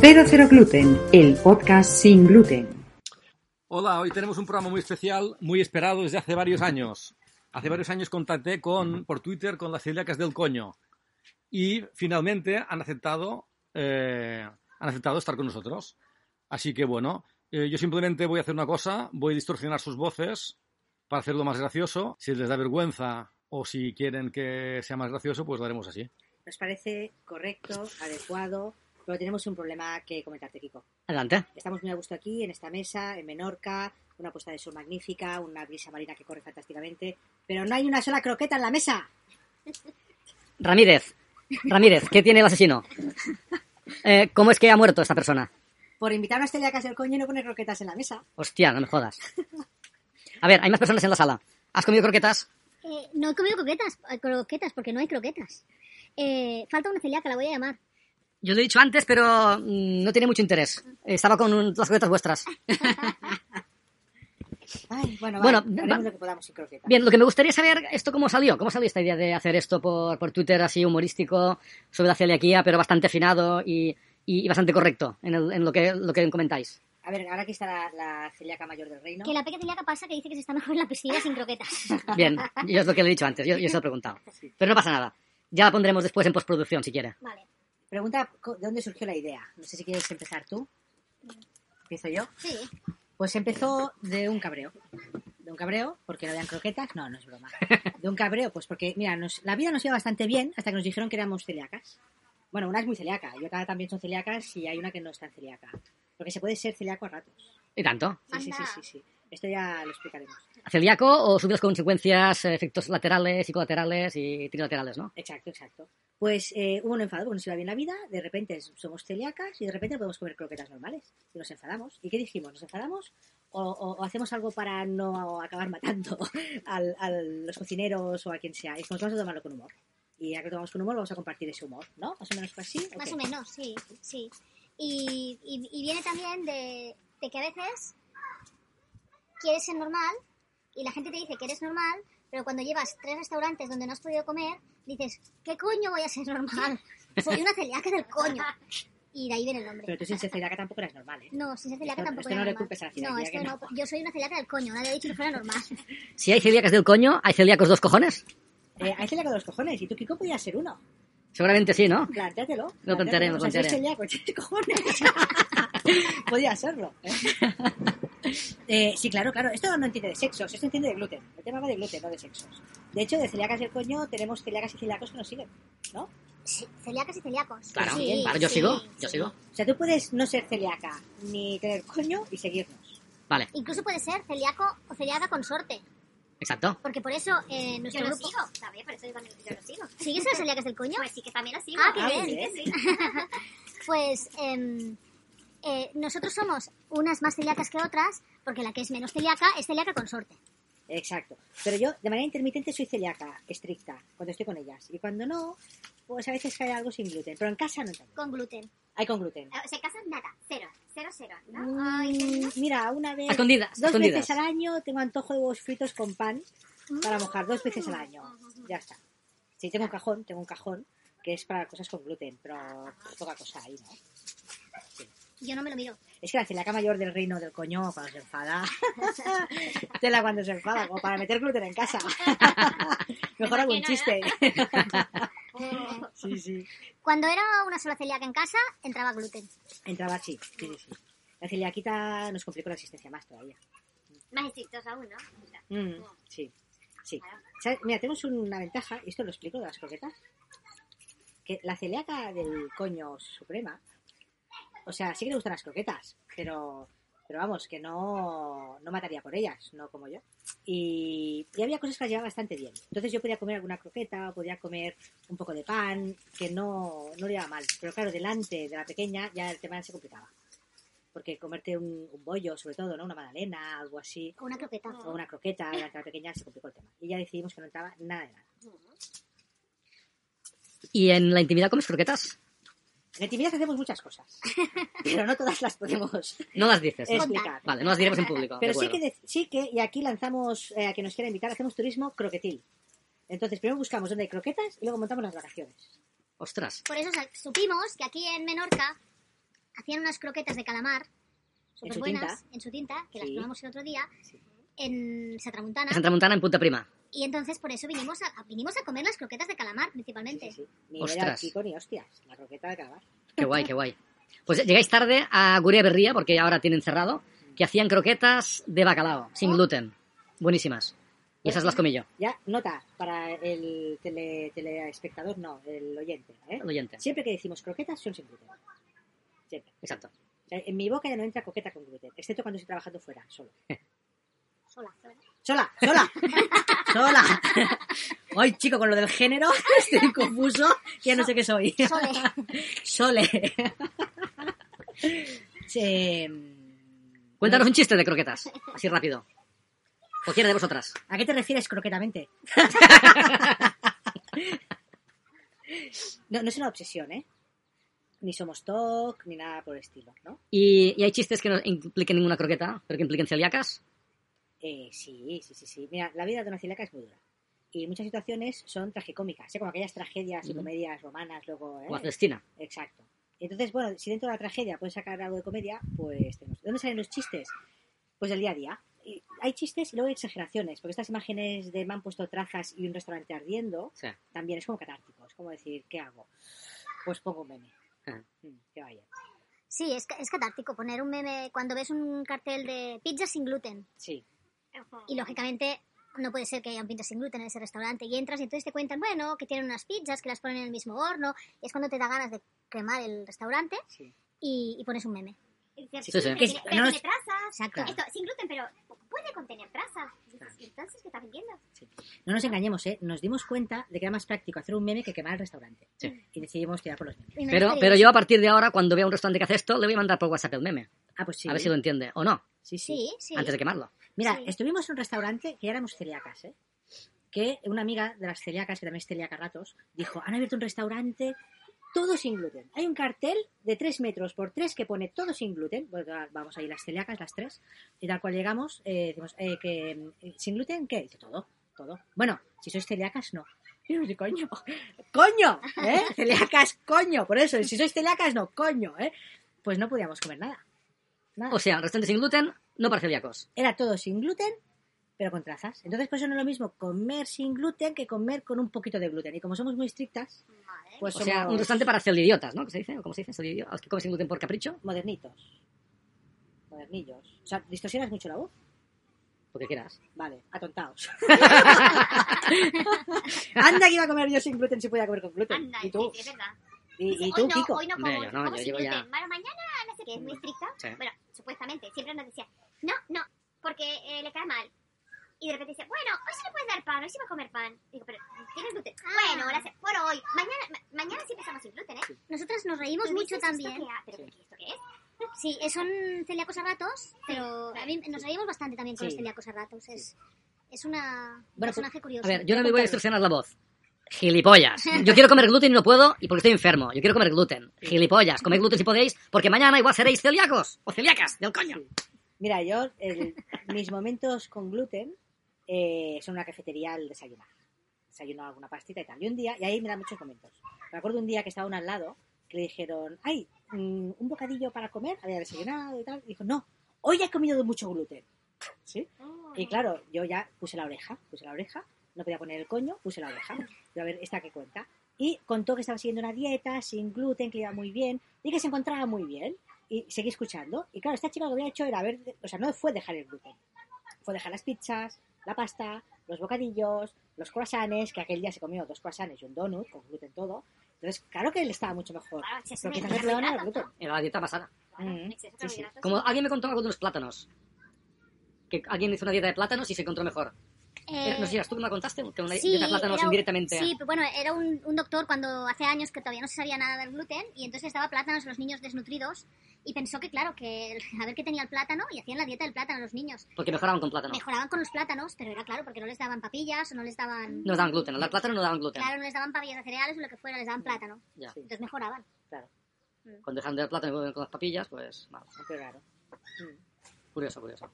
Cero Cero Gluten, el podcast sin gluten. Hola, hoy tenemos un programa muy especial, muy esperado desde hace varios años. Hace varios años contacté con, por Twitter con las celíacas del coño y finalmente han aceptado, eh, han aceptado estar con nosotros. Así que bueno, eh, yo simplemente voy a hacer una cosa, voy a distorsionar sus voces para hacerlo más gracioso. Si les da vergüenza o si quieren que sea más gracioso, pues lo haremos así. Nos parece correcto, adecuado, pero tenemos un problema que comentarte, Kiko. Adelante. Estamos muy a gusto aquí, en esta mesa, en Menorca, una puesta de sol magnífica, una brisa marina que corre fantásticamente, pero no hay una sola croqueta en la mesa. Ramírez, Ramírez, ¿qué tiene el asesino? Eh, ¿Cómo es que ha muerto esta persona? Por invitar a una estrella a casa del coño y no poner croquetas en la mesa. Hostia, no me jodas. A ver, hay más personas en la sala. ¿Has comido croquetas? Eh, no he comido croquetas, eh, croquetas, porque no hay croquetas. Eh, falta una celíaca, la voy a llamar. Yo lo he dicho antes, pero mm, no tiene mucho interés. Estaba con un- las croquetas vuestras. Ay, bueno, Bueno, vale, va- haremos lo que podamos sin croquetas. Bien, lo que me gustaría saber, ¿esto cómo salió? ¿Cómo salió esta idea de hacer esto por, por Twitter así humorístico, sobre la celiaquía, pero bastante afinado y, y- y bastante correcto en, el- en lo, que, lo que comentáis? A ver, ahora aquí está la, la celíaca mayor del reino. Que la pequeña celíaca pasa que dice que se está mejor en la piscina sin croquetas. Bien, yo es lo que le he dicho antes, yo, yo se lo he preguntado. Pero no pasa nada. Ya la pondremos después en postproducción, si quiere. Vale. Pregunta, co- ¿de dónde surgió la idea? No sé si quieres empezar tú. Mm. ¿Empiezo yo? Sí. Pues empezó de un cabreo. De un cabreo, porque no habían croquetas. No, no es broma. De un cabreo, pues porque, mira, nos- la vida nos iba bastante bien hasta que nos dijeron que éramos celíacas. Bueno, una es muy celíaca. Yo cada también son celíacas y hay una que no es tan celíaca. Porque se puede ser celíaco a ratos. ¿Y tanto? Sí, sí, sí, sí, sí. Esto ya lo explicaremos. celíaco o sufre las consecuencias, eh, efectos laterales, psicolaterales y trilaterales, ¿no? Exacto, exacto. Pues eh, hubo un enfado, porque nos iba bien la vida, de repente somos celíacas y de repente podemos comer croquetas normales. Y nos enfadamos. ¿Y qué dijimos? ¿Nos enfadamos? ¿O, o- o hacemos algo para no acabar matando al- a los cocineros o a quien sea? Y dijimos, vamos a tomarlo con humor. Y ya que lo tomamos con humor, vamos a compartir ese humor, ¿no? Más o menos fue así. ¿o Más qué? o menos, sí, sí. Y, y- y viene también de, de que a veces quieres ser normal y la gente te dice que eres normal, pero cuando llevas tres restaurantes donde no has podido comer, dices, ¿qué coño voy a ser normal? Soy una celíaca del coño. Y de ahí viene el nombre. Pero tú sin ser celíaca tampoco eras normal, ¿eh? No, sin ser celíaca Esto- tampoco esto no era le normal. culpes a la No, celíaca, esto que no. no. Yo soy una celíaca del coño, nadie ha dicho que fuera normal. Si hay celíacas del coño, hay celíacos dos cojones. Eh, hay celíaco de los cojones y tú, Kiko, podías ser uno. Seguramente sí, ¿no? Plántatelo. Lo plantearé, lo plántatelo. O sea, soy plantearé. celíaco, ¿qué cojones? Podía serlo. ¿eh? Eh, sí, claro, claro. Esto no entiende de sexos, esto entiende de gluten. El tema va de gluten, no de sexos. De hecho, de celíacas del coño tenemos celíacas y celíacos que nos siguen, ¿no? Sí, celíacas y celíacos. Claro, Sí, bien, vale, yo sí, sigo, sí. yo sigo. O sea, tú puedes no ser celíaca ni tener coño y seguirnos. Vale, Incluso puede ser celíaco o celíaca consorte. exacto. Porque por eso eh, nuestro grupo... También, por eso yo también yo lo sigo. ¿Sigues a las celíacas del coño? Pues sí que también lo sigo. Ah, qué Ah, bien. bien. Pues em, eh, nosotros somos unas más celíacas que otras, porque la que es menos celíaca es celíaca consorte. Exacto. Pero yo, de manera intermitente, soy celíaca, estricta, cuando estoy con ellas. Y cuando no, pues a veces cae algo sin gluten. Pero en casa no tanto. Con gluten. Hay con gluten. O sea, casas Eh, nada, cero, cero, cero, ¿no? Ay, Mm, ¿no? Mira, una vez... A Escondidas, a Dos escondidas. veces al año tengo antojo de huevos fritos con pan para mojar, dos veces al año. Ya está. Sí, tengo un cajón, tengo un cajón que es para cosas con gluten, pero poca cosa ahí, ¿no? Yo no me lo miro. Es que la celíaca mayor del reino del coño cuando se enfada. Tela cuando se enfada, como para meter gluten en casa. Mejor hago un chiste. Oh. sí, sí. Cuando era una sola celíaca en casa, entraba gluten. Entraba así. Sí, sí, sí. La celiaquita nos complicó la existencia más todavía. Más estrictos aún, ¿no? Mm, sí, sí. ¿Sabes? Mira, tenemos una ventaja, y esto lo explico de las croquetas, que la celíaca del coño suprema, o sea, sí que le gustan las croquetas, pero, pero vamos, que no, no mataría por ellas, no como yo. Y, y había cosas que las llevaba bastante bien. Entonces yo podía comer alguna croqueta, o podía comer un poco de pan, que no, no le iba mal. Pero claro, delante de la pequeña ya el tema se complicaba. Porque comerte un, un bollo, sobre todo, ¿no? Una magdalena, algo así, O una croqueta. o una croqueta durante la pequeña se complicó el tema. Y ya decidimos que no entraba nada de nada. ¿Y en la intimidad comes croquetas? En intimidad hacemos muchas cosas, pero no todas las podemos No las dices. ¿no? explicar. Vale, no las diremos en público. de Pero sí acuerdo. que, dec- sí que, y aquí lanzamos eh, a quien nos quiera invitar, hacemos turismo croquetil. Entonces, primero buscamos dónde hay croquetas y luego montamos las vacaciones. Ostras, Por eso sa- supimos que aquí en Menorca hacían unas croquetas de calamar súper buenas en su tinta, que las Sí. probamos el otro día, Sí. en Satramuntana. Es en Tramuntana en Punta Prima. Y entonces por eso vinimos a, a- vinimos a comer las croquetas de calamar principalmente. Sí, sí, sí. Ni era Ostras. chico ni hostias. La croqueta de calamar. Qué guay, qué guay. Pues llegáis tarde a Guria Berría, porque ahora tienen cerrado, que hacían croquetas de bacalao, Oh. sin gluten. Buenísimas. Y esas las comí yo, Ya, nota, para el tele, teleespectador, no, el oyente. ¿eh? el oyente. Siempre que decimos croquetas son sin gluten. Siempre. Exacto. O sea, en mi boca ya no entra croqueta con gluten, excepto cuando estoy trabajando fuera, solo. Sola. ¡Sola! ¡Sola! ¡Sola! Hoy, chico, con lo del género este estoy confuso, ya no sé qué soy. Sole. Sole. Eh, Cuéntanos un chiste de croquetas, así rápido. Cualquiera de vosotras. ¿A qué te refieres croquetamente? no, no es una obsesión, ¿eh? Ni somos TOC, ni nada por el estilo, ¿no? ¿Y, y hay chistes que no impliquen ninguna croqueta, pero que impliquen celíacas? Eh, sí, sí, sí, sí. Mira, la vida de una celíaca es muy dura. Y muchas situaciones son tragicómicas, ¿eh? como aquellas tragedias y Ujú. comedias romanas, luego. ¿eh? O a Celestina. Exacto. Entonces, bueno, si dentro de la tragedia puedes sacar algo de comedia, pues tenemos. ¿De dónde salen los chistes? Pues del día a día. Y hay chistes y luego hay exageraciones, porque estas imágenes de me han puesto trazas y un restaurante ardiendo, Sí. también es como catártico, es como decir, ¿qué hago? Pues pongo un meme. Ajá. Mm, que vaya. Sí, es, ca- es catártico poner un meme cuando ves un cartel de pizza sin gluten. Sí, Y lógicamente no puede ser que hayan pizzas sin gluten en ese restaurante. Y entras y entonces te cuentan, bueno, que tienen unas pizzas, que las ponen en el mismo horno. Y es cuando te da ganas de cremar el restaurante sí. y, y pones un meme. Sí, sí. Pero tiene, Que- pero no tiene trazas. Exacto. Esto, sin gluten, pero puede contener trazas. Dices, ¿y Entonces, ¿qué estás vendiendo? No nos engañemos, ¿eh? Nos dimos cuenta de que era más práctico hacer un meme que quemar el restaurante. Sí. Y decidimos tirar por los memes. Y me Pero, parece pero bien. yo a partir de ahora, cuando vea un restaurante que hace esto, le voy a mandar por WhatsApp el meme. Ah, pues sí. A ver si lo entiende o no, Sí, sí. Sí, sí. antes de quemarlo. Mira, Sí. estuvimos en un restaurante que ya éramos celíacas, ¿eh? Que una amiga de las celíacas, que también es celíaca a ratos, dijo, han abierto un restaurante todo sin gluten. Hay un cartel de 3 metros por 3 que pone todo sin gluten. Bueno, todas vamos ahí las celíacas, las tres. Y tal cual llegamos, eh, decimos, eh, que eh, sin gluten, ¿qué? Dice, todo, todo. Bueno, si sois celíacas, no. Y yo, coño, coño, ¿eh? Celíacas, coño. Por eso, si sois celíacas, no, coño, ¿eh? Pues no podíamos comer nada. Nada O sea, restaurante sin gluten, no para celíacos. era todo sin gluten, pero con trazas. Entonces, por eso no es lo mismo comer sin gluten que comer con un poquito de gluten. Y como somos muy estrictas, Madre. pues O sea, un somos restaurante para celidiotas, ¿no? ¿Qué se dice? ¿Cómo se dice? Celidiotas. ¿A los que comen sin gluten por capricho? modernitos. Modernillos. O sea, distorsionas mucho la voz. Porque quieras. Vale, atontaos. Anda que iba a comer yo sin gluten si podía comer con gluten. Anda, y tú, sí, sí, es verdad. y, y Hoy tú no, Kiko. Hoy no como, Hombre, yo no, como yo sin llevo gluten. ya- Bueno, mañana, no sé qué, es muy estricto. Sí. Bueno, supuestamente, siempre nos decía, no, no, porque eh, le cae mal. Y de repente dice, bueno, hoy se le puede dar pan, hoy se va a comer pan. Digo, pero tienes gluten. Bueno, ahora se- bueno, hoy, mañana, ma- mañana sí empezamos sin gluten, ¿eh? Nosotras nos reímos mucho Entonces, ¿esto también. qué ha- ¿Pero qué- esto qué es? Sí, eh, son celíacos a ratos, pero a mí nos reímos bastante también con Sí. los celíacos a ratos. Es, es una, un Bueno, pues, personaje curioso. A ver, yo no me voy a distorsionar la voz. Gilipollas. Yo quiero comer gluten y no puedo y porque estoy enfermo. Yo quiero comer gluten. Gilipollas. Comed gluten si podéis porque mañana igual seréis celíacos o celíacas del coño. Mira, yo, el- mis momentos con gluten eh, son una cafetería al desayunar. Desayuno alguna pastita y tal. Y un día, y ahí me dan muchos momentos. Me acuerdo un día que estaba un al lado que le dijeron, ay, mm, un bocadillo para comer, había desayunado y tal. Y dijo, no, hoy he comido mucho gluten. ¿Sí? Oh. Y claro, yo ya puse la oreja, puse la oreja, no podía poner el coño, puse la oreja. Yo a ver, esta que cuenta. Y contó que estaba siguiendo una dieta sin gluten, que le iba muy bien y que se encontraba muy bien. Y seguí escuchando. Y claro, esta chica lo que había hecho era ver, o sea, no fue dejar el gluten, fue dejar las pizzas, la pasta, los bocadillos, los croissants, que aquel día se comió dos croissants y un donut con gluten todo. Entonces, claro que él estaba mucho mejor. Ah, Claro, si es Pero un quizás el problema no era el carbohidrato, gluten. Era la dieta pasada. Claro, Mm. un exceso de Sí, sí. carbohidratos. Como alguien me contó algo de unos plátanos. Que alguien hizo una dieta de plátanos y se encontró mejor. Eh, no sé, ¿tú me la contaste? Que una sí, dieta de plátanos era un- indirectamente. Sí, pero bueno, era un, un doctor cuando hace años que todavía no se sabía nada del gluten y entonces daba plátanos a los niños desnutridos y pensó que, claro, que el- a ver qué tenía el plátano y hacían la dieta del plátano a los niños. Porque mejoraban con plátano. Mejoraban con los plátanos, pero era claro, porque no les daban papillas o no les daban... No daban gluten. Al dar plátano no daban gluten. Claro, no les daban papillas de cereales o lo que fuera, les daban plátano. Ya. Sí. Entonces mejoraban. Claro, Cuando dejan de dar plátano y vuelven con las papillas, pues mal. siempre raro. Mm. Curioso, curioso.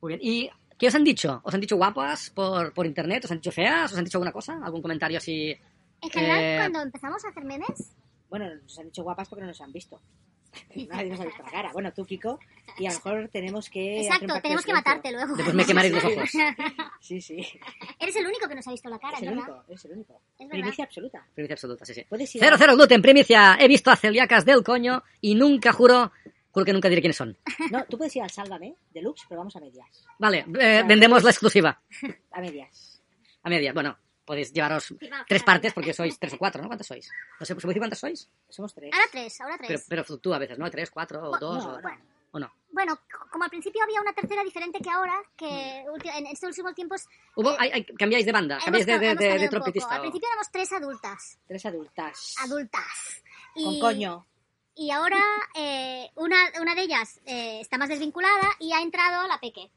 Muy bien. ¿Y qué os han dicho? ¿Os han dicho guapas por, por internet? ¿Os han dicho feas? ¿Os han dicho alguna cosa? ¿Algún comentario así? En general, Eh, cuando empezamos a hacer memes, Bueno, nos han hecho guapas porque no nos han visto. Nadie nos ha visto la cara. Bueno, tú, Kiko, y a lo mejor tenemos que. hacer un Exacto, pacto tenemos de que silencio. matarte luego. Después me quemaréis los ojos. Sí, sí. Eres el único que nos ha visto la cara, Es el ¿verdad? único, es el único. Es verdad. Primicia absoluta. Primicia absoluta, sí, sí. Puedes ir. a- Cero, cero, gluten, primicia. He visto a celíacas del coño y nunca juro, juro que nunca diré quiénes son. No, tú puedes ir al Sálvame Deluxe, pero vamos a medias. Vale, pues- eh, vendemos la exclusiva. A medias. A medias, bueno, podéis llevaros Firmado, tres firmado. partes porque sois tres o cuatro, ¿no? ¿Cuántos sois? No sé, ¿se puede decir cuántos sois? Somos tres. Ahora tres, ahora Pero, tres. pero fluctúa a veces, ¿no? Tres, cuatro o Bu- dos no, o, bueno. o no. Bueno, c- como al principio había una tercera diferente que ahora, que Mm. ulti- en estos últimos tiempos Hubo- hay- hay- cambiáis de banda, hemos, cambiáis de, ca- de- hemos de- de cambiado un poco. trompetista. Al o- principio éramos tres adultas, Tres adultas. adultas. Y, Con coño. Y ahora eh, una, una de ellas eh, está más desvinculada y ha entrado la Peque,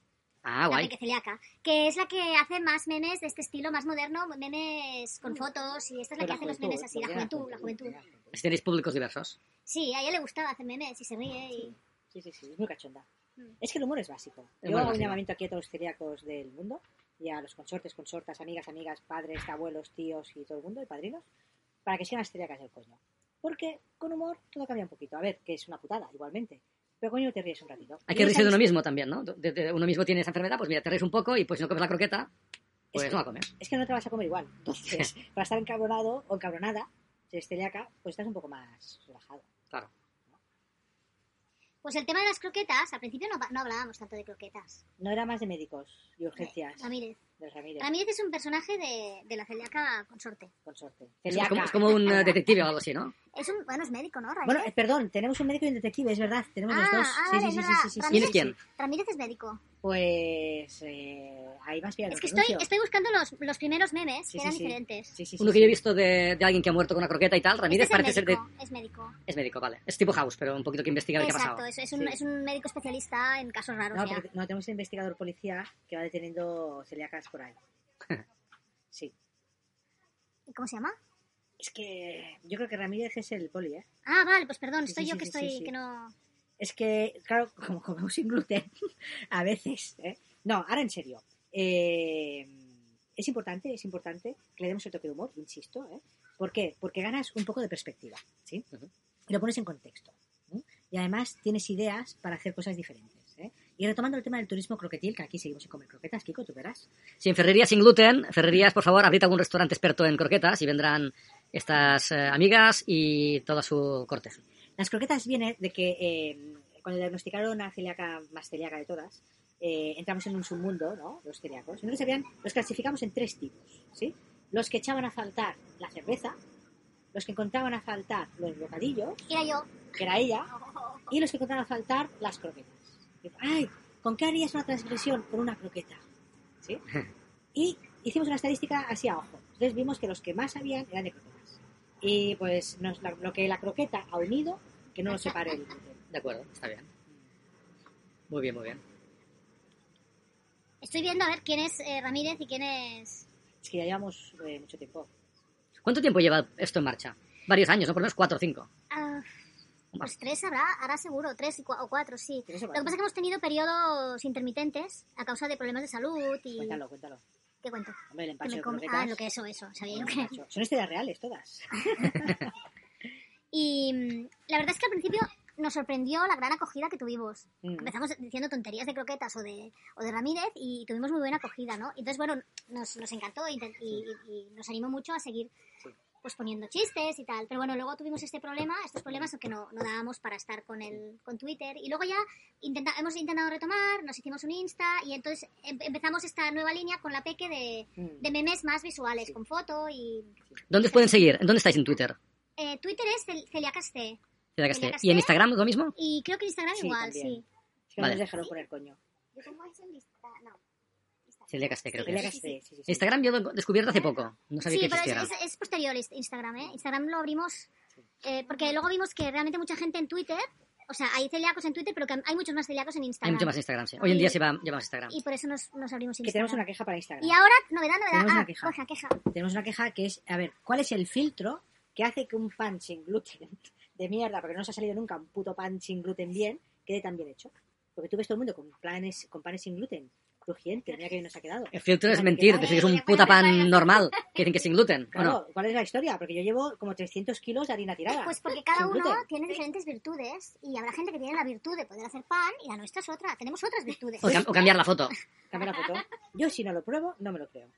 Ah, la guay. Peque Celiaca, que es la que hace más memes de este estilo más moderno, memes Mm. con fotos y esta es Con la que hace los memes así, lo la que era juventud, la juventud. Si tenéis públicos diversos. Sí, a ella le gustaba hacer memes y se ríe y... Sí, sí, sí, es muy cachonda. Mm. Es que el humor es básico. Yo El humor hago un básico. llamamiento aquí a todos los celíacos del mundo y a los consortes, consortas, amigas, amigas, padres, abuelos, tíos y todo el mundo, y padrinos, para que sean las celíacas del coño. Porque con humor todo cambia un poquito. A ver, que es una putada, igualmente. Pero coño, te ríes un ratito. Hay Y esa que reírse de uno amist- mismo también, ¿no? De- de- uno mismo tiene esa enfermedad, pues mira, te reís un poco y pues si no comes la croqueta, Es pues que- no la comes. Es que no te vas a comer igual. Entonces, para estar encabronado o encabronada, si eres celíaca, pues estás un poco más relajado. Claro. Pues el tema de las croquetas, al principio no, no hablábamos tanto de croquetas. No era más de médicos y urgencias Ramírez. del Ramírez, Ramírez es un personaje de, de la Celiaca consorte. consorte. Es como, Celíaca. es como un eh, Ala. detective o algo así, ¿no? Es un, bueno, es médico, ¿no, Ramírez? Bueno, eh, perdón, tenemos un médico y un detective, es verdad. Tenemos los Ah, dos. ah, sí, sí, vale, sí, es sí, verdad. sí, sí, sí. ¿Quién es quién? Ramírez es médico. Pues eh, ahí vas bien. Es que estoy, estoy buscando los, los primeros memes Sí, sí, que eran sí. diferentes. Sí, sí, sí, Uno que yo he sí. visto de, de alguien que ha muerto con una croqueta y tal, Ramírez Este parece es el ser de... médico, es médico. Es médico, vale. Es tipo House, pero un poquito que investiga de qué ha Exacto, pasado. es, es un, Sí. es un médico especialista en casos raros. No, ya. porque- no, tenemos el investigador policía que va deteniendo celíacas por ahí. Sí. ¿Y ¿Cómo se llama? Es que yo creo que Ramírez es el poli, ¿eh? Ah, vale, pues perdón, Sí, estoy sí, yo sí, que sí, estoy, sí, sí. que no... Es que, claro, como comemos sin gluten, a veces, ¿eh? No, ahora en serio. Eh, es importante, es importante que le demos el toque de humor, insisto, ¿eh? ¿Por qué? Porque ganas un poco de perspectiva, ¿sí? Ujú. Y lo pones en contexto. ¿sí? Y además tienes ideas para hacer cosas diferentes, ¿eh? Y retomando el tema del turismo croquetil, que aquí seguimos sin comer croquetas, Kiko, tú verás. Sí, en Ferrerías sin gluten, Ferrerías, por favor, abrid algún restaurante experto en croquetas y vendrán estas eh, amigas y toda su corte. Las croquetas viene de que eh, cuando diagnosticaron a celíaca más celíaca de todas, eh, entramos en un submundo, ¿no? Los celíacos. Entonces habían, los clasificamos en tres tipos, ¿sí? Los que echaban a faltar la cerveza, los que encontraban a faltar los bocadillos, Era yo. que era ella, y los que encontraban a faltar las croquetas. Y, Ay, ¿con qué harías una transgresión? Con una croqueta, ¿sí? Y hicimos una estadística así a ojo. Entonces vimos que los que más sabían eran de croquetas. Y pues nos- la- lo que la croqueta ha unido, que no lo separe el gluten. De acuerdo, está bien. Muy bien, muy bien. Estoy viendo a ver quién es eh, Ramírez y quién es... Es que ya llevamos eh, mucho tiempo. ¿Cuánto tiempo lleva esto en marcha? Varios años, ¿no? Por lo menos cuatro o cinco. ah, pues tres habrá, hará seguro, tres y cua- o cuatro, sí. Tres o Lo que cuatro. pasa es que hemos tenido periodos intermitentes a causa de problemas de salud y... Cuéntalo, cuéntalo. ¿Qué cuento? Hombre, el Que empacho me de come- croquetas. Ah, lo que eso, eso, sabía yo el que... empacho. Son estrellas reales todas. Y mm, la verdad es que al principio nos sorprendió la gran acogida que tuvimos. Mm. Empezamos diciendo tonterías de croquetas o de, o de Ramírez y tuvimos muy buena acogida, ¿no? Entonces, bueno, nos, nos encantó y, te- y- y- y nos animó mucho a seguir pues poniendo chistes y tal. Pero bueno, luego tuvimos este problema, estos problemas que no, no dábamos para estar con el con Twitter. Y luego ya intenta, hemos intentado retomar, nos hicimos un Insta y entonces em- empezamos esta nueva línea con la peque de, Mm. de memes más visuales, con foto y... ¿Dónde os pueden seguir? ¿Dónde estáis en Twitter? eh, Twitter es Cel- Celia Casté. Celia Casté. Casté. ¿Y en Instagram lo mismo? Y creo que en Instagram Sí, igual, también. sí. Es que Vale. no nos dejaron poner coño. Yo tengo eso en lista. No. Celia Casté, creo que Celia es. Casté, sí, sí, sí. Instagram yo lo he descubierto hace poco. No sabía que Sí, pero existiera. es, es- es posterior Inst- Instagram, ¿eh? Instagram lo abrimos eh, porque luego vimos que realmente mucha gente en Twitter, o sea, hay celíacos en Twitter, pero que hay muchos más celíacos en Hay Instagram. mucho más Instagram, sí. Hoy en día se va, lleva más Instagram. Y por eso nos, nos abrimos Que tenemos una Instagram. queja para Y Instagram. ahora, novedad, novedad. Tenemos Ah, una queja. coja, queja. Tenemos una queja que es, a ver, ¿cuál es el filtro que hace que un pan sin gluten de mierda, porque no nos ha salido nunca un puto pan sin gluten bien, quede tan bien hecho? Porque tú ves todo el mundo con, planes, con panes sin gluten. crujiente, mira que bien nos ha quedado. El filtro es mentir, decir que es un puta pan normal, que dicen que sin gluten, ¿o no? Claro, ¿cuál es la historia? Porque yo llevo como 300 kilos de harina tirada. Pues porque cada Sin uno gluten. tiene diferentes virtudes y habrá gente que tiene la virtud de poder hacer pan y la nuestra es otra. Tenemos otras virtudes. O, cam- o cambiar la foto. Cambia la foto. Yo si no lo pruebo, no me lo creo.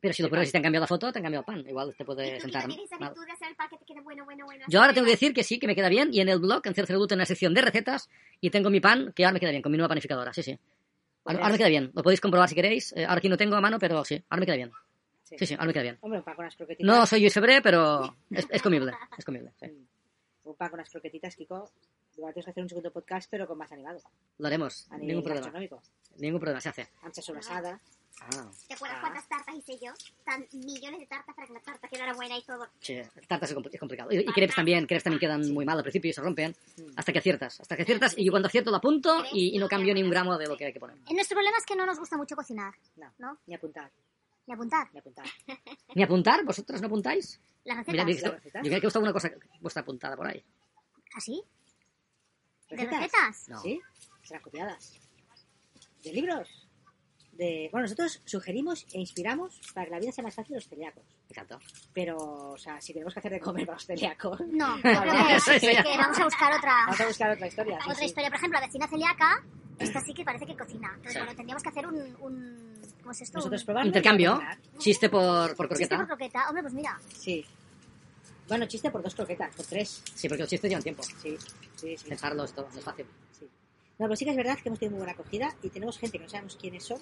Pero si lo pruebas y te han cambiado la foto, te han cambiado el pan. Igual te Y puede tú sentar tienes esa mal. virtud de hacer el pan que te quede bueno, bueno, bueno. Yo ahora tengo que decir que sí, que me queda bien. Y en el blog, en Cercero Gluten, en la sección de recetas, y tengo mi pan, que ahora me queda bien, con mi nueva panificadora. Sí, sí. Ahora, ahora me queda bien. Lo podéis comprobar si queréis. Eh, ahora aquí no tengo a mano, pero sí, ahora me queda bien. Sí. Sí, sí, ahora me queda bien. Hombre, un pan con las croquetitas. mm, No soy Luis Febré, pero es, es comible. Es comible, sí. Un pan con las croquetitas, Kiko. Igual tienes que hacer un segundo podcast, pero con más animado. Lo haremos. A nivel Ningún problema. gastronómico. Ningún problema, se hace. Ancha sobrasada. Ah, ¿Te acuerdas Ah. cuántas tartas hice yo? Tan millones de tartas para que la tarta quedara buena y todo. sí. Tartas es compli- es complicado. Y, y crepes también. Crepes también quedan muy mal al principio y se rompen. Hasta que aciertas. Hasta que aciertas. Y yo cuando acierto lo apunto y, y no cambio ni un gramo de lo que hay que poner. Eh, Nuestro problema es que no nos gusta mucho cocinar No, ¿No? ni apuntar, ni apuntar. ni apuntar. ¿Ni apuntar? ¿Vosotros no apuntáis? Las Mira, recetas. mira, yo las recetas. creo que está alguna cosa vuestra apuntada por ahí. ¿Así? ¿Ah, ¿De ¿Recetas? recetas? No. ¿Sí? Serán copiadas. ¿De libros? De... Bueno, nosotros sugerimos e inspiramos para que la vida sea más fácil a los celíacos. Me encantó. Pero, o sea, si tenemos que hacer de comer para los celíacos, No, yo creo Eso ya. que, que vamos a buscar otra, vamos a buscar otra historia. sí, Ah. otra sí. historia. Por ejemplo, la vecina celíaca, esta sí que parece que cocina. Entonces, Sí. bueno, tendríamos que hacer un, un- ¿Cómo es esto? Nosotros un probamos. Intercambio. Chiste por, por chiste croqueta. por croqueta. Hombre, pues mira, Sí. Bueno, chiste por dos croquetas, por tres. Sí, porque los chistes llevan tiempo. Sí, sí, sí. Pensarlo es todo, no es fácil. sí. No, pero sí que es verdad que hemos tenido muy buena acogida y tenemos gente que no sabemos quiénes son,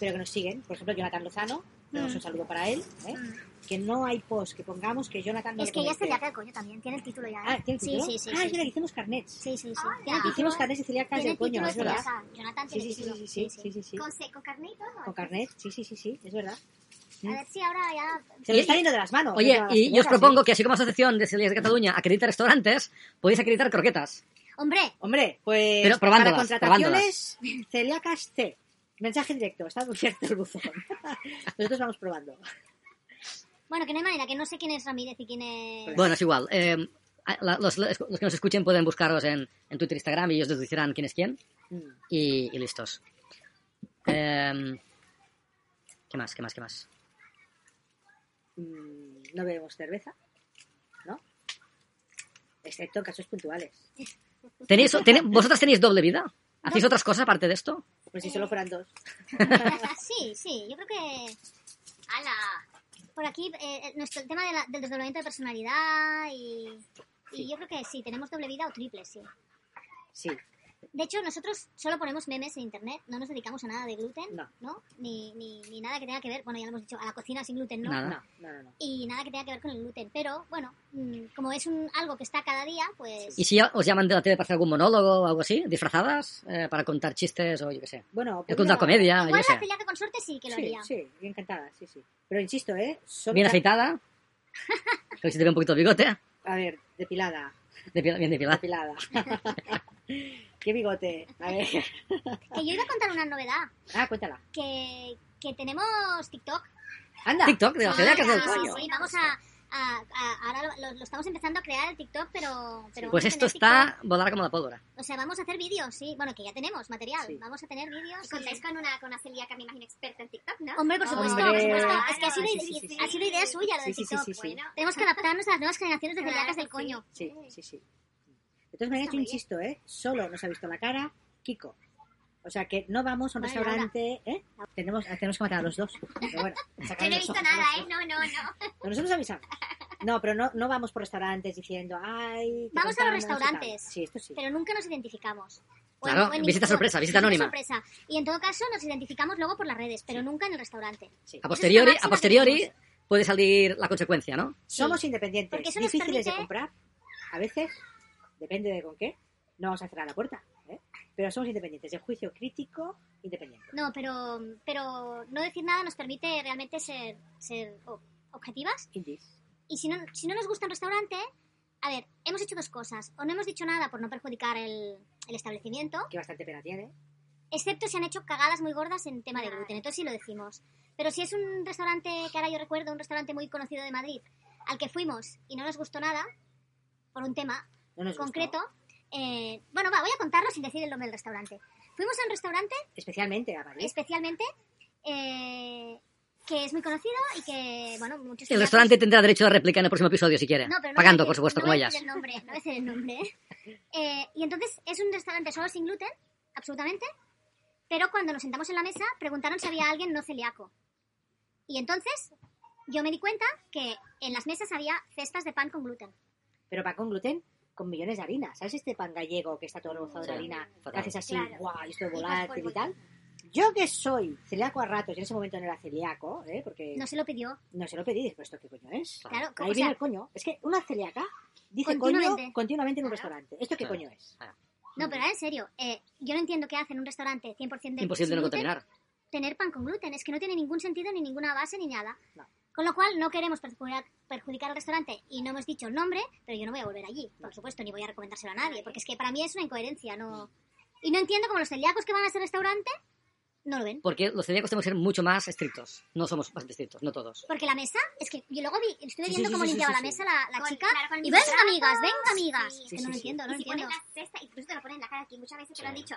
pero que nos siguen. Por ejemplo, Jonathan Lozano, tenemos Mm. un saludo para él. ¿eh? Mm. Que no hay post que pongamos que Jonathan no es le que ya es comente. celíaca el coño también. Tiene el título ya. ¿eh? Ah, ¿tiene el título? Sí, sí, sí. Ah, sí, es verdad, que hicimos carnets. Sí, sí, sí. Tiene el título. Hicimos carnets de celíacas Tiene del el coño, título es verdad. celíaca. Jonathan Sí, tiene sí, el sí, título. sí, sí, sí, sí, sí. Con, se- con carne y ¿eh? todo. Con carnet, sí, sí, sí, sí, es verdad. A ver si ahora ya... Se le Y- está yendo de las manos. Oye, eso a las y yo os cosas, ¿eh? propongo que así como Asociación de Celíacos de Cataluña acredita restaurantes, podéis acreditar croquetas. Hombre, Hombre, pues Pero probándolas, para contrataciones, celíacas C. Mensaje directo, está muy cierto el buzón. Nosotros vamos probando. bueno, que no hay manera, que no sé quién es Ramírez y quién es... Bueno, es igual. eh, la- los, los que nos escuchen pueden buscaros en, en Twitter, Instagram y ellos les dirán quién es quién. Mm. Y, y listos. Em, ¿Qué más? ¿Qué más? ¿Qué más? Mm, no bebemos cerveza, ¿no? Excepto en casos puntuales. ¿Tenéis, tené- ¿Vosotras tenéis doble vida? ¿Hacéis otras cosas aparte de esto? Pues si solo fueran dos. Sí, sí, yo creo que... ¡Hala! Por aquí, eh, el- nuestro, el tema de la- del desdoblamiento de personalidad y, y yo creo que sí, tenemos doble vida o triple, sí. Sí, De hecho, nosotros solo ponemos memes en internet, no nos dedicamos a nada de gluten, No. Ni, ni, ni nada que tenga que ver, bueno, ya lo hemos dicho, a la cocina sin gluten, ¿no? Nada. no, no, no. no. Y nada que tenga que ver con el gluten, pero bueno, mm, como es un, algo que está cada día, pues... ¿Y si os llaman de la tele para hacer algún monólogo o algo así? ¿Disfrazadas? eh, ¿Para contar chistes o yo qué sé? Bueno, pues Yo contar comedia, yo Igual qué la sé. celíaca con suerte sí que lo Sí, haría. sí, bien encantada, sí, sí. Pero insisto, ¿eh? Solo Bien afeitada. Creo que se te ve un poquito el bigote. A ver, depilada, Depi- Bien depilada. depilada. Qué bigote. A ver. Que yo iba a contar una novedad, Ah, cuéntala. que, que tenemos TikTok. Anda. TikTok de la Sí, ciudad que es del sí, coño. sí, vamos a... a- a- ahora lo, lo- lo estamos empezando a crear el TikTok, pero... pero Pues vamos a esto tener TikTok. está volar como la pólvora. O sea, vamos a hacer vídeos, sí. Bueno, que ya tenemos material. Sí. Vamos a tener vídeos. Y y- Contáis con una, con una celíaca, me imagino, experta en TikTok, ¿no? Hombre, por Ah, supuesto, por Hombre. supuesto. Es que ha sido, Claro, ide- sí, sí, sí, ha sido idea suya lo Sí, de sí, sí, TikTok. sí, sí. Bueno, Tenemos que adaptarnos a las nuevas generaciones de Claro, celíacas del sí. coño. Sí, sí, sí. De todas maneras, Está yo muy insisto, ¿eh? Solo nos ha visto la cara Kiko. O sea que no vamos a un Vale, restaurante, ¿eh? Tenemos, tenemos que matar a los dos. Pero bueno, Yo no he visto nada, ¿eh? No, no, no. Nosotros avisamos. No, pero no, no vamos por restaurantes diciendo, ay. te Vamos a los contamos y tal. restaurantes. Sí, esto sí. Pero nunca nos identificamos. O Claro, o visita o- sorpresa, visita anónima. sorpresa. Y en todo caso nos identificamos luego por las redes, pero nunca en el restaurante. sí. A posteriori, máxima a que posteriori tenemos. puede salir la consecuencia, ¿no? Somos independientes, Porque eso nos difíciles de permite- comprar. A veces, depende de con qué, no vamos a cerrar la puerta. ¿eh? Pero somos independientes, de juicio crítico, independiente. No, pero, pero no decir nada nos permite realmente ser, ser o- objetivas Indies. Y si no, si no nos gusta un restaurante, a ver, hemos hecho dos cosas. O no hemos dicho nada por no perjudicar el, el establecimiento, que bastante pena tiene. excepto si han hecho cagadas muy gordas en tema de Vale. gluten. Entonces sí lo decimos. Pero si es un restaurante, que ahora yo recuerdo, un restaurante muy conocido de Madrid, al que fuimos y no nos gustó nada, por un tema No nos gustó. concreto, eh, bueno, va, voy a contarlo sin decir el nombre del restaurante. Fuimos a un restaurante Especialmente a París. especialmente eh, que es muy conocido y que, bueno, muchos... El ciudadanos- restaurante tendrá derecho a réplica en el próximo episodio si quiere. No, pero no Pagando, voy a- por supuesto, no como voy a ellas. decir el nombre, no voy a decir el nombre. Eh, y entonces es un restaurante solo sin gluten, absolutamente, pero cuando nos sentamos en la mesa preguntaron si había alguien no celíaco. Y entonces yo me di cuenta que en las mesas había cestas de pan con gluten. Pero pan con gluten con millones de harinas. ¿Sabes este pan gallego que está todo rebozado Sí, de harina? fatal. Que haces así, Claro. guau, y esto es Y volátil fosforo. y tal. Yo que soy celíaco a ratos, y en ese momento no era celíaco, ¿eh? porque No se lo pidió. no se lo pedí, dije, pero esto qué coño Ah, es. Claro, Ahí como- o viene sea, el coño. Es que una celíaca dice Continuamente. coño continuamente en un Claro. restaurante. ¿Esto qué Claro. coño es? no, pero ahora en serio, eh, yo no entiendo qué hacen en un restaurante 100% de Imposible sin no gluten, contaminar. tener pan con gluten. Es que no tiene ningún sentido ni ninguna base ni nada. No. Con lo cual no queremos perjudicar, perjudicar al restaurante y no hemos dicho el nombre, pero yo no voy a volver allí, por supuesto, ni voy a recomendárselo a nadie, porque es que para mí es una incoherencia. no Y no entiendo cómo los celíacos que van a ese restaurante no lo ven. Porque los celíacos tenemos que ser mucho más estrictos. No somos más estrictos, no todos. Porque la mesa, es que yo luego vi, estuve Sí, viendo sí, cómo sí, sí, limpiaba sí, la sí. mesa la, la Con- chica claro, con y mis venga brazos. amigas, venga amigas. Sí, Es sí, que no sí, lo sí. entiendo, no y lo si pones entiendo. la cesta, incluso te lo ponen en la cara aquí, muchas veces te lo han Sí. dicho.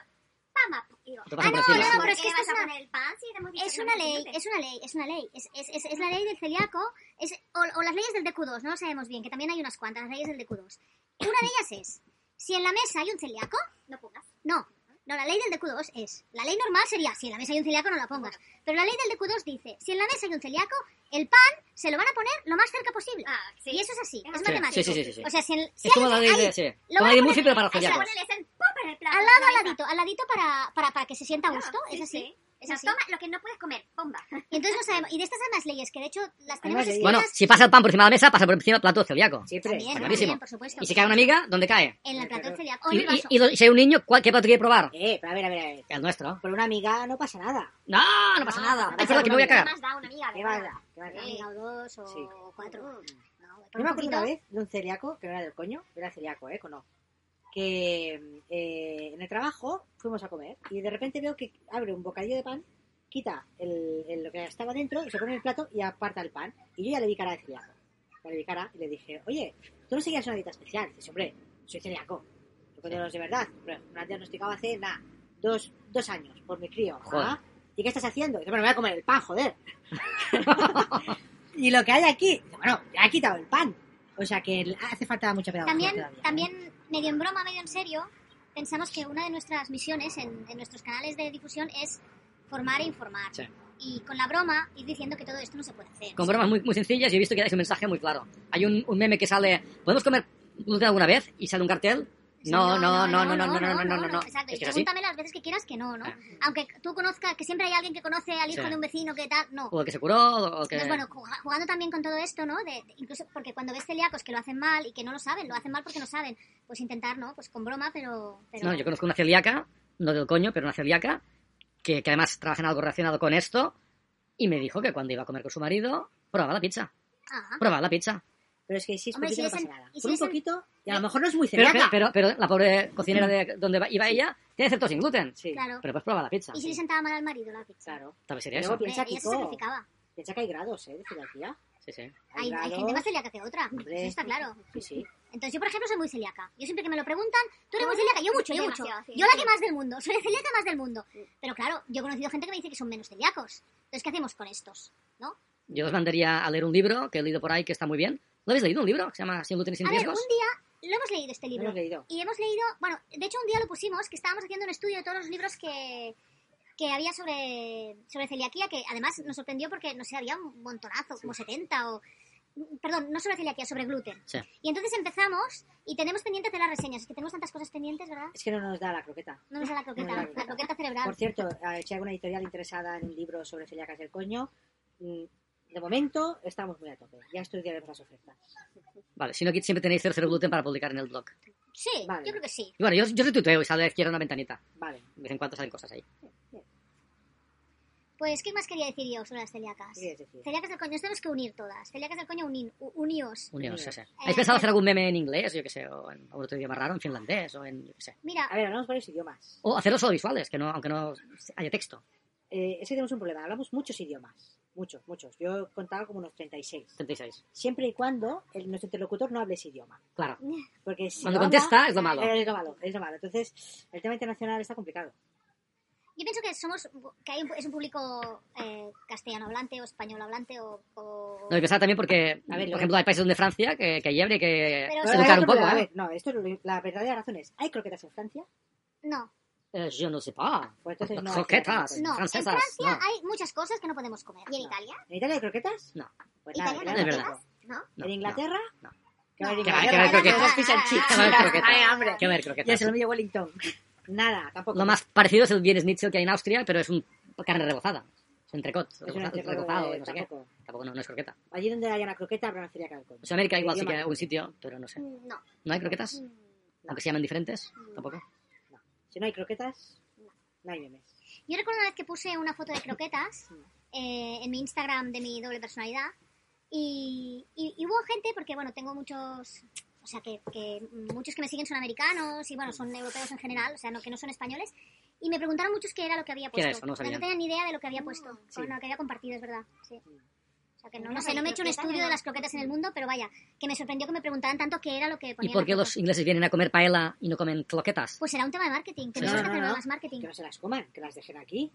Pama. Y digo, Te ah, pasan no, por encima. no, no, pero es que esto vas es a una- poner el pan? Sí, te hemos dicho Es que no una tiene ley, gluten. es una ley, es una ley. Es, es, es, es la ley del celíaco es, o, o las leyes del DQ2, no lo sabemos bien, que también hay unas cuantas, las leyes del DQ2. Una de ellas es, si en la mesa hay un celíaco, No pongas. no. No, la ley del DQ2 es, la ley normal sería, si en la mesa hay un celíaco no la pongas. Pero la ley del DQ2 dice, si en la mesa hay un celíaco, el pan se lo van a poner lo más cerca posible. Ah, sí. Y eso es así, es Sí, matemático. sí, sí, sí, sí. O sea, si, en- si Es como hay- la ley hay- de... Sí. lo Como la van a ley de poner- Murphy, pero para Hay que celíacos. ponerles el pop en el plato. al en lado, la al mesa. ladito, al ladito para, para, para que se sienta a Claro, gusto, sí, es así. sí. Es No, así. Toma lo que no puedes comer, bomba. Y entonces no sabemos. Y de estas hay más leyes, que de hecho las Hay más tenemos leyes. escritas Bueno, si pasa el pan por encima de la mesa, pasa por encima del plato celíaco. Siempre. también, Está también, clarísimo. por supuesto. Y si cae una amiga, ¿dónde cae? En el plato Claro. celíaco. O en Y, el vaso. y- y lo- y si hay un niño, ¿cuál, ¿qué plato quiere probar? Eh, pero a ver, a ver, a ver. El nuestro. Por una amiga no pasa nada. Ah, No, no pasa nada. Es verdad que me voy a cagar. Más da una amiga, de ¿Qué va a verdad. dar? ¿Qué va a Una dar? amiga o dos o Sí. cuatro. Mm. No, por Yo un me acuerdo poquito. una vez de un celíaco, que no era del coño, era celíaco, ¿eh? Cono. Que eh, en el trabajo fuimos a comer y de repente veo que abre un bocadillo de pan, quita el, el- lo que estaba dentro y se pone en el plato y aparta el pan. Y yo ya le vi cara de celíaco. Ya le vi cara y le dije, oye, tú no seguías una dieta especial. Dice, hombre, soy celíaco. Yo coño los de verdad. Hombre, Me han diagnosticado hace nada, dos, dos años por mi crío. Joder. ¿ah? ¿Y qué estás haciendo? Dice, bueno, me voy a comer el pan, joder. y lo que hay aquí, dice, bueno, le ha quitado el pan. O sea que hace falta mucha pedagogía También, todavía, ¿eh? también, medio en broma, medio en serio, pensamos que una de nuestras misiones en, en nuestros canales de difusión es formar e informar. Sí. Y con la broma ir diciendo que todo esto no se puede hacer. Con bromas muy, muy sencillas y he visto que dais un mensaje muy claro. Hay un, un meme que sale, ¿podemos comer gluten alguna vez? Y sale un cartel. Sí, No, no, no, no, no, no, no, no, no, no. Exacto, Es y que es así. pregúntame las veces que quieras que no, ¿no? Ah. Aunque tú conozcas, que siempre hay alguien que conoce al hijo Sí. de un vecino que tal, no. O el que se curó, o que... Entonces, Pues bueno, ju- jugando también con todo esto, ¿no? De, de- incluso porque cuando ves celíacos que lo hacen mal y que no lo saben, lo hacen mal porque no saben, pues intentar, ¿no? Pues con broma, pero... pero No, yo conozco una celíaca, no del coño, pero una celíaca, que, que además trabaja en algo relacionado con esto, y me dijo que cuando iba a comer con su marido, probaba la pizza, Ajá. probaba la pizza. Pero es que si es Hombre, poquito si no es pasa en- nada. y si Por un es en- poquito, y a lo mejor no es muy Pero, celíaca. pero, pero la pobre cocinera de donde va- iba ella, tiene cierto sin gluten, Sí, Claro. pero pues probaba la pizza. Y si le sentaba mal al marido la pizza. claro. Tal vez sería Luego eso. Hombre, Piensa, ella se Kiko. sacrificaba. Piensa que hay grados, ¿eh? De celiaquía. Sí, sí. Hay, hay grados. gente más celíaca que otra, Hombre. eso está claro. Sí, sí. Entonces yo, por ejemplo, soy muy celíaca. Yo siempre que me lo preguntan, tú eres muy celíaca, yo mucho, yo mucho. Demasiado, sí, Yo la sí. que más del mundo, soy celíaca más del mundo. Pero claro, yo he conocido gente que me dice que son menos celíacos. Entonces, ¿qué hacemos con estos? ¿No? Yo os mandaría a leer un libro que he leído por ahí que está muy bien. ¿Lo habéis leído un libro que se llama Sin gluten y sin A ver, un riesgos? día lo hemos leído este No libro. lo he leído. Y hemos leído, bueno, de hecho un día lo pusimos, que estábamos haciendo un estudio de todos los libros que, que había sobre, sobre celiaquía, que además nos sorprendió porque, no sé, había un montonazo, como 70 o... Perdón, no sobre celiaquía, sobre gluten. Sí. Y entonces empezamos y tenemos pendientes de las reseñas. Es que tenemos tantas cosas pendientes, ¿verdad? Es que no nos da la croqueta. No nos da la No croqueta, nos da la la croqueta. croqueta Por cerebral. cierto, eh, si hay alguna editorial interesada en un libro sobre celíacas del coño, mm, de momento estamos muy a tope. Ya estudiaremos las ofertas. Vale, si no, aquí siempre tenéis tercer gluten para publicar en el blog. Sí, Vale. yo creo que sí. Y bueno, yo, yo retuiteo y sale a la izquierda una ventanita. Vale. De vez en cuando salen cosas ahí. Pues, ¿qué más quería decir yo sobre las celíacas? ¿Qué quieres decir? Celiacas del coño, nos tenemos que unir todas. Celiacas del coño, unin- u- uníos. Unidos, Sí. sí, sí. Eh, ¿Habéis pensado pero- hacer algún meme en inglés, yo qué sé, o en algún otro idioma raro, en finlandés, o en, yo qué sé? Mira, A ver, hablamos varios idiomas. O hacerlos solo visuales, que no, aunque no haya texto. Eh, es que tenemos un problema. Hablamos muchos idiomas. Muchos, muchos. Yo he contado como unos 36. 76. Siempre y cuando el- nuestro interlocutor no hable ese idioma. Claro. Porque si Cuando lo habla- contesta, es lo malo. Eh, Es lo malo, es lo malo. Entonces, el tema internacional está complicado. Yo pienso que somos que hay un- es un público eh, castellano hablante o español hablante o, o- No, y pensar también porque, A ver, por lo- ejemplo, hay países donde Francia que, que hiebre y que Pero se sí, lucharon un Pero, poco, a ¿eh? ver, no, esto es lo- la verdadera razón es, ¿hay croquetas en Francia? no. Eh, Yo no sé pa. Pues entonces no. hay Croquetas. No, en Francesas, no. Francia hay muchas cosas que no podemos comer. ¿Y en No. Italia? ¿En Italia hay croquetas? No. Pues nada, Italia no hay claro. croquetas. ¿No? No, ¿En no. Inglaterra? no. ¿Qué va a haber en Que va- que Inglaterra? va a haber croquetas. Tenemos fish and chips. Que va a haber croquetas. Ay, hambre. Que a ver, Ya se croquetas. lo mío Wellington. Nada, tampoco. Lo más parecido es el Wiener Schnitzel que hay en Austria, pero es un carne rebozada. Es entrecot, Es una rebozado, tierra recocado de- y no sé qué. tampoco. Tampoco no, no es croqueta. Allí donde haya una croqueta habrá una feria calcón. En Sudamérica igual sí que Idioma. hay un sitio, pero no sé. Mm, No. ¿No hay croquetas? Aunque se llamen diferentes, tampoco. Si no hay croquetas, no hay memes. Yo recuerdo una vez que puse una foto de croquetas eh, en mi Instagram de mi doble personalidad y, y- y hubo gente, porque bueno, tengo muchos, o sea, que, que muchos que me siguen son americanos y bueno, son europeos en general, o sea, no, que no son españoles, y me preguntaron muchos qué era lo que había ¿Qué era eso? puesto. No Pero sabían. tenía ni idea de lo que había puesto, sí. o lo que había compartido, es verdad. sí. O sea, que no, no No, sé, no me he hecho un croquetas estudio no. de las croquetas en el mundo, pero vaya, que me sorprendió que me preguntaran tanto qué era lo que ¿Y ponía. en por la qué foto. los ingleses vienen a comer paella y no comen croquetas? Pues será un tema de marketing, tenemos no, que no, hacer no. más marketing. Que no se las coman, que las dejen aquí.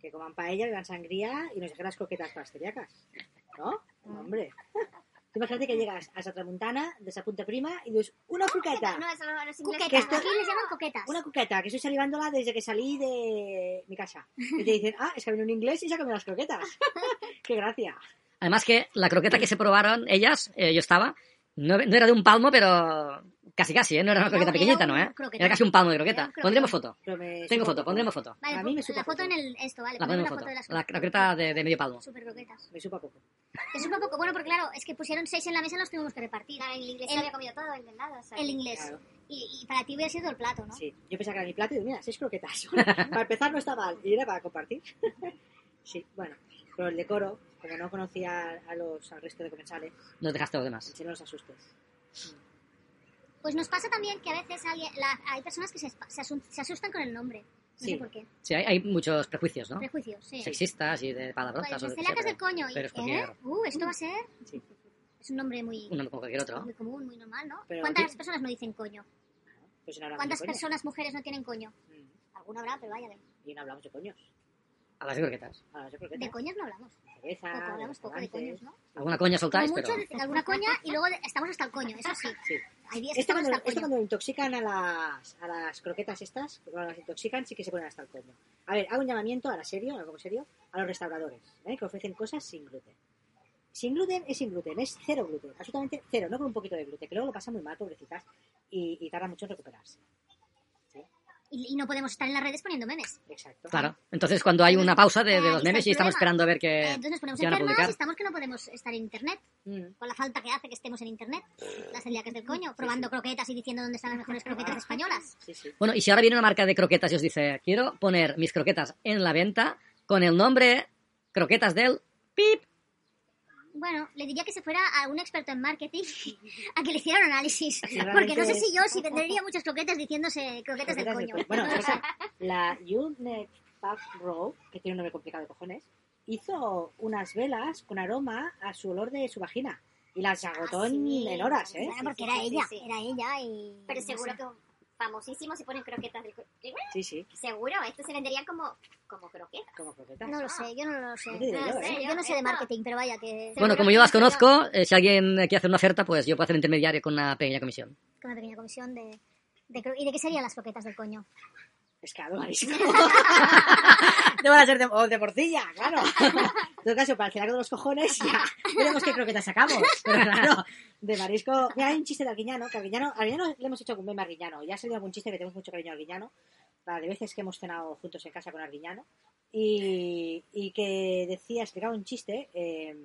Que coman paella, beban sangría y nos dejen las croquetas para las celíacas. ¿No? Mm. No, Hombre. Tú imagínate que llegas a Satramuntana, de esa punta prima, y dices, una croqueta. No, eso no, los ingleses. Cuquetas, esto- aquí les llaman coquetas. Una croqueta, que estoy salivándola desde que salí de mi casa. Y te dicen, ah, es que vino un inglés y se ha comido las croquetas. ¡Qué gracia! Además que la croqueta que se probaron ellas, eh, yo estaba, no, no era de un palmo, pero casi casi, ¿eh? No era una Era croqueta un- pequeñita, era ¿no? un ¿eh? croquetón. Era casi un palmo de Era croqueta. un croquetón. Pondremos foto. Pero me Tengo supo foto, poco. pondremos foto. Vale, A mí me pon- supo la foto poco. en el esto, vale. La ponemos ponemos la foto. foto de las La croqueta de, de medio palmo. Super croquetas. Me supo a poco. Te supo poco. Bueno, porque claro, es que pusieron seis en la mesa y los tuvimos que repartir. Claro, el inglés El- se había comido todo, el del lado. o sea, El inglés. Claro. Y, y para ti hubiera sido todo el plato, ¿no? Sí, yo pensaba que era mi plato y digo, mira, seis croquetas. para empezar no está mal, y era para compartir. sí, bueno, pero el decoro, como no conocía a los, al resto de comensales, Nos dejaste los demás. si no los asustes. Pues nos pasa también que a veces alguien- la- hay personas que se, espa- se asun- se asustan con el nombre. No Sí. sé por qué. Sí, hay, hay muchos prejuicios, ¿no? Prejuicios, sí. Sexistas y de Pues, palabrotas. o las lo que sea, celacas del pero coño. y- pero es ¿eh? cualquier- Uh, esto va a ser... Sí. Es un nombre muy, Uno como cualquier otro. muy común, muy normal, ¿no? Pero ¿Cuántas aquí- personas no dicen coño? Pues no hablamos de ¿Cuántas coños. personas mujeres no tienen coño? Mm, Alguna habrá, pero vaya. De, Y no hablamos de coños. Hablas de croquetas. Hablamos de de croquetas, coños no hablamos. de cerveza, Poco, de hablamos poco de coños, restaurantes. ¿no? Alguna coña Como soltáis, pero... mucho de- alguna coña y luego de- estamos hasta el coño, eso sí. Sí. Hay días Esto que estamos cuando, hasta el esto coño. cuando intoxican a las, a las croquetas estas, cuando las intoxican sí que se ponen hasta el coño. A ver, hago un llamamiento, ahora serio, algo serio, a los restauradores, ¿eh? que ofrecen cosas sin gluten. Sin gluten es sin gluten, es cero gluten, absolutamente cero, no con un poquito de gluten, que luego lo pasan muy mal, pobrecitas, y, y tarda mucho en recuperarse. Y, y no podemos estar en las redes poniendo memes. Exacto. Claro. Entonces cuando hay una pausa de, de Ahí los está memes el y estamos problema. esperando a ver Eh, qué... Entonces nos ponemos ¿qué van a enfermas publicar? y estamos que no podemos estar en internet. Mm. Con la falta que hace que estemos en internet. Las celíacas del coño, probando croquetas y diciendo dónde están las mejores croquetas españolas. Sí, sí. Bueno, y si ahora viene una marca de croquetas y os dice, quiero poner mis croquetas en la venta con el nombre Croquetas del Pip. Bueno, le diría que se fuera a un experto en marketing a que le hiciera un análisis. realmente Porque no sé es- si yo si vendería muchas croquetas diciéndose croquetas Croquetas del del coño. coño. Bueno, esa- la Unit Pub Row, que tiene un nombre complicado de cojones, hizo unas velas con aroma a su olor de su vagina. Y las agotó en- sí. en horas, ¿eh? Ah, Bueno, Sí, porque era sí, sí, ella, sí. era ella y... Pero no seguro sé. que famosísimos se ponen croquetas del co- Y bueno, Sí, sí, Seguro, esto se vendería como, como croquetas. como croquetas. No lo sé, yo no lo sé. Yo te diré No yo, sé, ¿eh? Yo no sé de Esto- marketing, pero vaya que... Bueno, como yo las conozco, eh, si alguien eh, quiere hacer una oferta, pues yo puedo hacer un intermediario con una pequeña comisión. Con una pequeña comisión de... de cro- ¿Y de qué serían las croquetas del coño? Pescado, marisco. no van a ser de, o de morcilla, claro. En todo caso, para el celaco de los cojones, ya veremos qué croquetas sacamos. Pero claro, de marisco. Mira, hay un chiste de Arguiñano, que a Arguiñano, a Arguiñano le hemos hecho algún meme a Arguiñano. Ya ha salido algún chiste que tenemos mucho cariño a Arguiñano. La de veces que hemos cenado juntos en casa con Arguiñano. Y, y que decía, explicaba un chiste eh,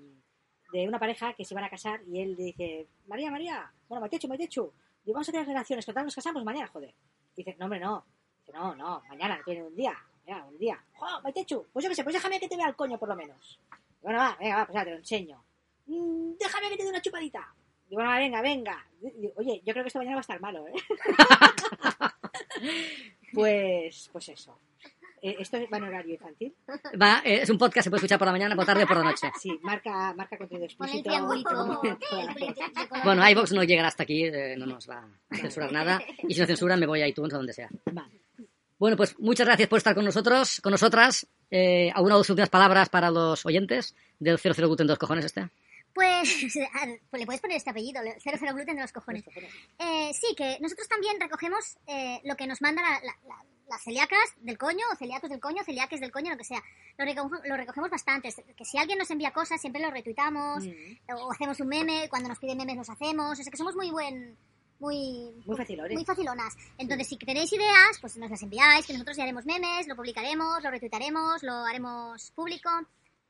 de una pareja que se iban a casar y él dice: María, María, bueno, Matechu, Matechu, y vamos a tener relaciones, que tal nos casamos mañana, joder. Y dice: No, hombre, no. Dice, no, no, mañana, tiene un día. Venga, un día. ¡Jo, Maitechu! Pues yo qué sé, pues déjame que te vea el coño por lo menos. Y bueno, va, venga, va, pues ya te lo enseño. Mm, déjame que te dé una chupadita. Y bueno, va, venga, venga. Y- y- oye, yo creo que esta mañana va a estar malo, ¿eh? pues, pues eso. Eh, ¿Esto va en horario infantil? Va, eh, es un podcast, se puede escuchar por la mañana, por la tarde o por la noche. Sí, marca, marca contenido Con el explícito. triangulito. Claro. Bueno, iVox no llegará hasta aquí, eh, no nos va a censurar nada. Y si no censuran, me voy a iTunes o donde sea. Vale. Bueno, pues muchas gracias por estar con nosotros, con nosotras. Eh, ¿Alguna de sus últimas palabras para los oyentes del 00 Gluten dos cojones este? Pues, ah, pues le puedes poner este apellido, le- cero cero gluten de los cojones. Eh, sí, que nosotros también recogemos eh, lo que nos mandan la- la- la- las celíacas del coño, o celíacos del coño, celiaques del coño, lo que sea. Lo, reco- lo recogemos bastante. Que si alguien nos envía cosas, siempre lo retuitamos, Mm, Mm. o hacemos un meme, cuando nos piden memes los hacemos. O sea que somos muy buen... Muy, Muy facilones. muy facilonas. Entonces, si tenéis ideas, pues nos las enviáis, que nosotros ya haremos memes, lo publicaremos, lo retuitaremos, lo haremos público.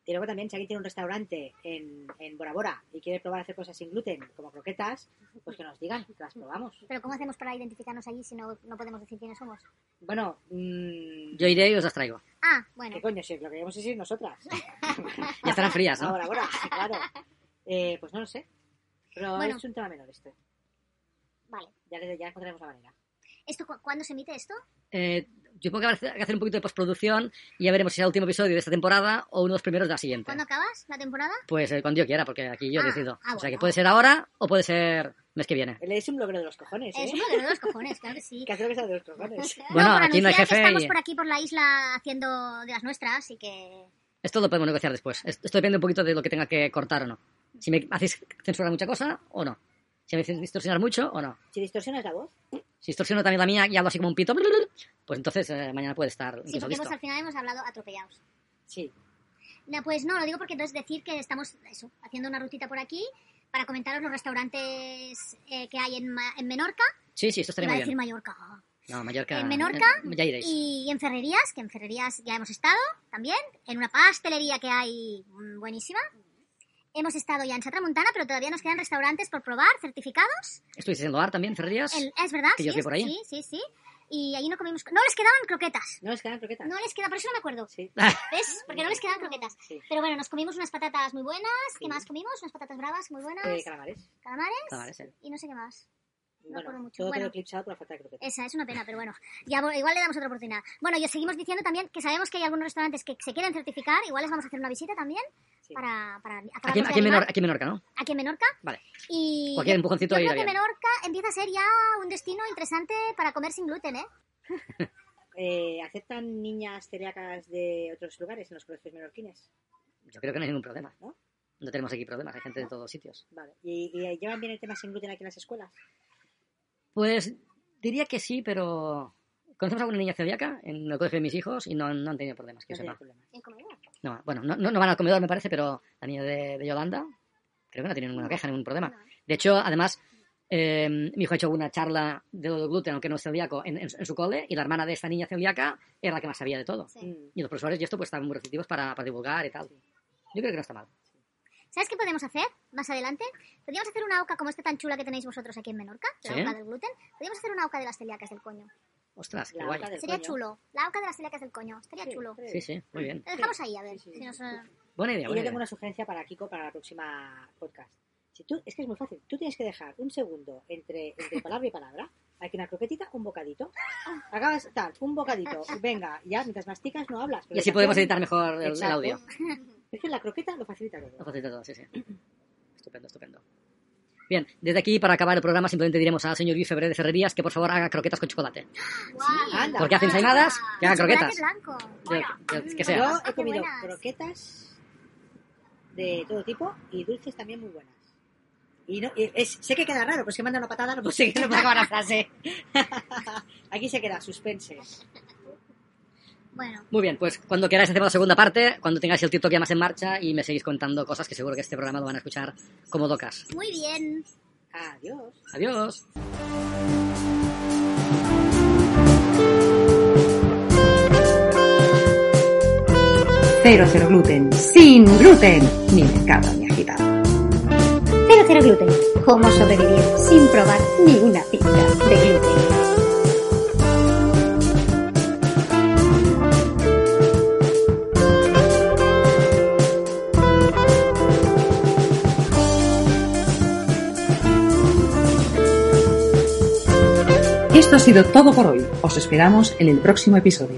Y luego también, si alguien tiene un restaurante en, en Bora Bora y quiere probar a hacer cosas sin gluten, como croquetas, pues que nos digan, que las probamos. Pero ¿cómo hacemos para identificarnos allí si no, no podemos decir quiénes somos? Bueno, mmm, Yo iré y os las traigo. Ah, bueno. ¿qué coño? Si lo que queremos es ir nosotras. Ya estarán frías, A ¿no? Bora Bora, sí, claro. Eh, pues no lo sé. Pero Bueno. es un tema menor este. Vale. Ya, le- ya encontraremos la manera. ¿Esto, cu- ¿Cuándo se emite esto? Eh, yo tengo que hacer- que hacer un poquito de postproducción y ya veremos si es el último episodio de esta temporada o uno de los primeros de la siguiente. ¿Cuándo acabas la temporada? Pues eh, cuando yo quiera, porque aquí yo Ah, decido. ah, o sea que bueno. puede ser ahora o puede ser mes que viene. Él es un logro de los cojones, ¿eh? Es un modelo de los cojones, claro que sí. Que hace lo que sea de los cojones. Bueno, por aquí no hay anunciar que jefe Estamos y- por aquí, por la isla, haciendo de las nuestras y que... Esto lo podemos negociar después. Esto, esto depende un poquito de lo que tenga que cortar o no. Si me hacéis censurar mucha cosa o no. Si me hacéis distorsionar mucho o no. Si distorsionas la voz, Si distorsiono también la mía y hablo así como un pito, pues entonces eh, mañana puede estar Sí, incluso porque listo. hemos- al final hemos hablado atropellados. sí. No, pues no, lo digo porque entonces decir que estamos eso, haciendo una rutita por aquí para comentaros los restaurantes eh, que hay en, Ma- en Menorca. Sí, sí, esto estaría Iba a muy bien. decir Mallorca. No, Mallorca. en Menorca eh, ya iréis. Y, en Ferrerías, que en Ferrerías ya hemos estado también, en una pastelería que hay mm, buenísima. Hemos estado ya en Satramontana, pero todavía nos quedan restaurantes por probar, certificados. ¿Estuvisteis en Loar también, Ferrerías? El- es verdad, Que sí, yo os vi por ahí. sí, sí, sí. Y allí no comimos... co- No les quedaban croquetas. No les quedan croquetas. No les queda, por eso no me acuerdo. Sí. ¿Ves? Porque no les quedaban croquetas. Sí. Pero bueno, nos comimos unas patatas muy buenas. Sí. ¿Qué más comimos? Unas patatas bravas muy buenas. Eh, calamares. calamares. Claro, ese. Y no sé qué más. No bueno, acuerdo mucho. todo Bueno. quedó eclipsado por la falta de croquetas. Esa es una pena, pero bueno, ya vo- igual le damos otra oportunidad. Bueno, y os seguimos diciendo también que sabemos que hay algunos restaurantes que se quieren certificar, igual les vamos a hacer una visita también Sí. Eh, para, para acabar Aquí, de aquí en animar Menor- aquí en Menorca, ¿no? aquí en Menorca. Vale. Y Cualquier yo- empujoncito yo irá creo que bien. Menorca empieza a ser ya un destino interesante para comer sin gluten, ¿eh? Eh, ¿Aceptan niñas celíacas de otros lugares en los colegios menorquines? Yo creo que no hay ningún problema. ¿No? No tenemos aquí problemas, hay gente de todos sitios. Vale. ¿Y, y llevan bien el tema sin gluten aquí en las escuelas? Pues diría que sí, pero conocemos a alguna niña celíaca en el colegio de mis hijos y no, no han tenido problemas, que No yo tienen sepa. problema. En comida. No, bueno, no, no- no van al comedor, me parece, pero la niña de, de Yolanda creo que no tiene ninguna queja, ningún problema. De hecho, además, eh, mi hijo ha hecho una charla de lo del gluten, aunque no es celíaco, en, en su- en su cole y la hermana de esta niña celíaca era la que más sabía de todo. Sí. Mm. Y los profesores y esto pues estaban muy receptivos para, para divulgar y tal. Yo creo que no está mal. ¿Sabes qué podemos hacer más adelante? Podríamos hacer una oca como esta tan chula que tenéis vosotros aquí en Menorca, la Sí. oca del gluten. Podríamos hacer una oca de las celíacas del coño. Ostras, qué La guay. boca del Sería coño. chulo. La oca de las celíacas del coño. Estaría chulo. Sí, Sí, ¿eh? sí, muy bien. Lo dejamos ahí, a ver. Sí, sí. si nos, eh, Buena Y idea, yo buena tengo idea. una sugerencia para Kiko para la próxima podcast. Si tú, es que es muy fácil. Tú tienes que dejar un segundo entre, entre palabra y palabra. Hay que una croquetita, un bocadito. Acabas tal, un bocadito. Venga, ya mientras masticas no hablas. pero Y así mientras podemos hablas- editar mejor el- el, Exacto. audio. Es que la croqueta lo facilita todo. Lo facilita todo, sí, sí. Estupendo, estupendo. Bien, desde aquí, para acabar el programa, simplemente diremos al señor Luis Febre de Ferrerías que por favor haga croquetas con chocolate. guau. Anda. Porque hace ensaimadas, que haga Chocolate croquetas. blanco. De- de- que pues sea. Yo Bastante he comido Ah, buenas. croquetas de todo tipo y dulces también muy buenas. Y no, y es- sé que queda raro, pero si manda una patada no puedo, seguir, no puedo acabar la frase. Aquí se queda, suspense. Bueno, Muy bien, pues cuando queráis hacemos la segunda parte, cuando tengáis el TikTok ya más en marcha y me seguís contando cosas que seguro que este programa lo van a escuchar como locas. muy bien. Adiós. Adiós. Cero cero gluten, sin gluten, ni mercado ni agitado. Cero cero gluten, cómo sobrevivir sin probar ninguna pizca de gluten. Esto ha sido todo por hoy. Os esperamos en el próximo episodio.